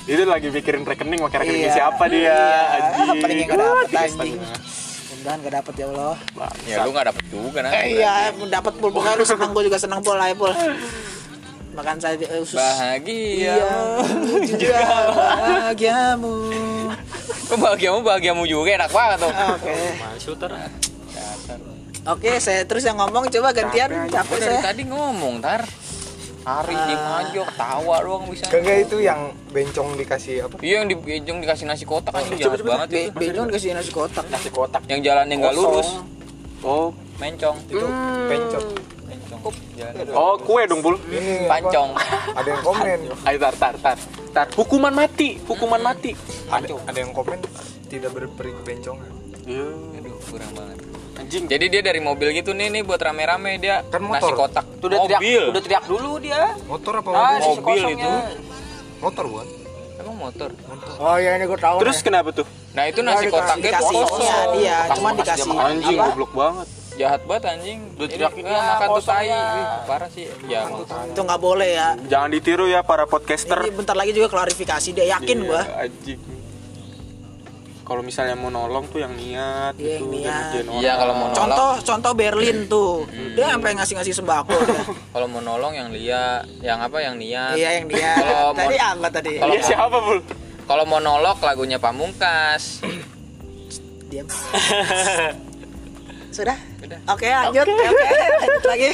Speaker 2: Itu lagi pikirin rekening, pakai rekening
Speaker 1: Iya.
Speaker 2: siapa dia, anjing.
Speaker 1: Paling yang gak
Speaker 2: Wah,
Speaker 1: dapet
Speaker 2: tiga
Speaker 1: anjing.
Speaker 2: setengah.
Speaker 1: Mudah-mudahan gak dapet ya Allah.
Speaker 2: Bangsa.
Speaker 3: Ya lu nggak dapet juga nah.
Speaker 1: Eh, iya, dapet pul pokoknya lu seneng gue juga seneng pul ayo
Speaker 2: [LAUGHS]
Speaker 1: pul. Makan saja eh, usus.
Speaker 3: Bahagia.
Speaker 1: Iya, juga
Speaker 3: Iya.
Speaker 1: bahagiamu.
Speaker 3: Kok bahagiamu bahagiamu juga enak banget tuh.
Speaker 1: Oke.
Speaker 4: Masuk utara.
Speaker 1: Oke, saya terus yang ngomong coba gantian capek
Speaker 3: Gua dari
Speaker 1: saya. Ah.
Speaker 3: tadi ngomong tar. Hari di aja tawa doang bisa.
Speaker 6: kagak itu yang bencong dikasih apa
Speaker 3: Iya yang di yang dikasih nasi kotak anjing jahat banget ya.
Speaker 1: Be Benyong kasih nasi kotak.
Speaker 5: nasi kotak.
Speaker 3: Yang jalannya nggak lurus,
Speaker 2: Oh,
Speaker 3: mencong.
Speaker 6: itu
Speaker 1: Mm.
Speaker 6: bencong
Speaker 3: Mencong. Jalan.
Speaker 2: oh kue dong, Pul.
Speaker 6: ini apa?
Speaker 3: Pancong.
Speaker 6: ada yang komen
Speaker 5: [LAUGHS]
Speaker 2: Ayo tar tar tar. Tar hukuman mati, hukuman mati.
Speaker 6: ada, ada yang komen tidak berperi kebencongan
Speaker 3: Aduh, kurang banget.
Speaker 2: Iya. Anjing.
Speaker 3: Jadi dia dari mobil gitu nih nih buat rame-rame dia
Speaker 6: Kan
Speaker 3: nasi
Speaker 6: motor.
Speaker 3: kotak.
Speaker 5: Tuh udah teriak,
Speaker 3: mobil.
Speaker 5: udah teriak dulu dia.
Speaker 6: motor apa
Speaker 5: Ah,
Speaker 6: mobil?
Speaker 5: sisi
Speaker 3: Mobil
Speaker 5: kosongnya.
Speaker 3: itu.
Speaker 6: motor buat
Speaker 3: Emang motor.
Speaker 5: Oh iya ini gue tahu.
Speaker 2: Terus
Speaker 1: ya.
Speaker 2: kenapa tuh?
Speaker 3: Nah, itu nasi kotaknya
Speaker 1: dikasih
Speaker 3: kosong.
Speaker 1: iya, iya,
Speaker 3: Kotak
Speaker 1: cuman
Speaker 3: bekas
Speaker 1: dikasih
Speaker 3: dia makan.
Speaker 2: Anjing
Speaker 1: apa?
Speaker 2: goblok banget.
Speaker 3: Jahat banget anjing. Udah
Speaker 5: teriakin
Speaker 3: ah,
Speaker 5: dia,
Speaker 3: makan tuh tai.
Speaker 5: kosongnya.
Speaker 3: Wih, Parah sih. Ya, makan tai.
Speaker 1: Itu nggak boleh ya.
Speaker 2: Jangan ditiru ya para podcaster.
Speaker 3: Iya.
Speaker 1: Ini bentar lagi juga klarifikasi dia yakin
Speaker 2: Iya,
Speaker 1: gua.
Speaker 2: Anjing. Iya, kalau misalnya mau nolong tuh yang niat
Speaker 1: Iya, yang
Speaker 2: gitu
Speaker 1: niat.
Speaker 2: jangan ngerjain
Speaker 3: Iya,
Speaker 2: orang.
Speaker 3: kalau mau nolong.
Speaker 1: contoh contoh Berlin
Speaker 3: Hmm.
Speaker 1: tuh dia sampai ngasih ngasih
Speaker 3: [LAUGHS]
Speaker 1: sembako dia.
Speaker 3: Kalau mau nolong yang lia, yang apa yang niat.
Speaker 1: iya yang dia
Speaker 3: Kalau mau-
Speaker 1: tadi apa tadi
Speaker 3: Kalau
Speaker 2: Iya, siapa bul
Speaker 3: Kalau monolog lagunya Pamungkas.
Speaker 1: diam [LAUGHS] sudah
Speaker 3: Udah.
Speaker 1: oke lanjut oke lanjut lagi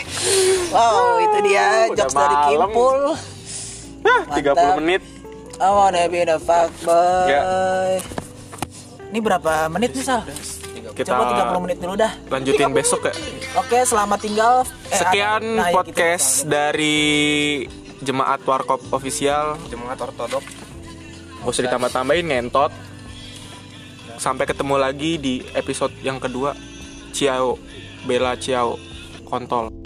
Speaker 1: wow itu dia jokes dari
Speaker 2: malam.
Speaker 1: Kimpul
Speaker 2: tiga
Speaker 1: Mantap.
Speaker 2: menit
Speaker 1: I wanna be the fuckboy
Speaker 2: Ya.
Speaker 1: ini berapa menit nih Sal?
Speaker 2: Kita-
Speaker 1: Coba 30 menit dulu dah
Speaker 2: lanjutin besok ya
Speaker 1: Oke selamat tinggal Eh,
Speaker 2: sekian
Speaker 1: nah, ya, kita-
Speaker 2: podcast dari jemaat warkop official
Speaker 6: Jemaat ortodok.
Speaker 2: Gak usah ditambah-tambahin ngentot. Sampai ketemu lagi di episode yang kedua. Ciao. Bella Ciao. Kontol.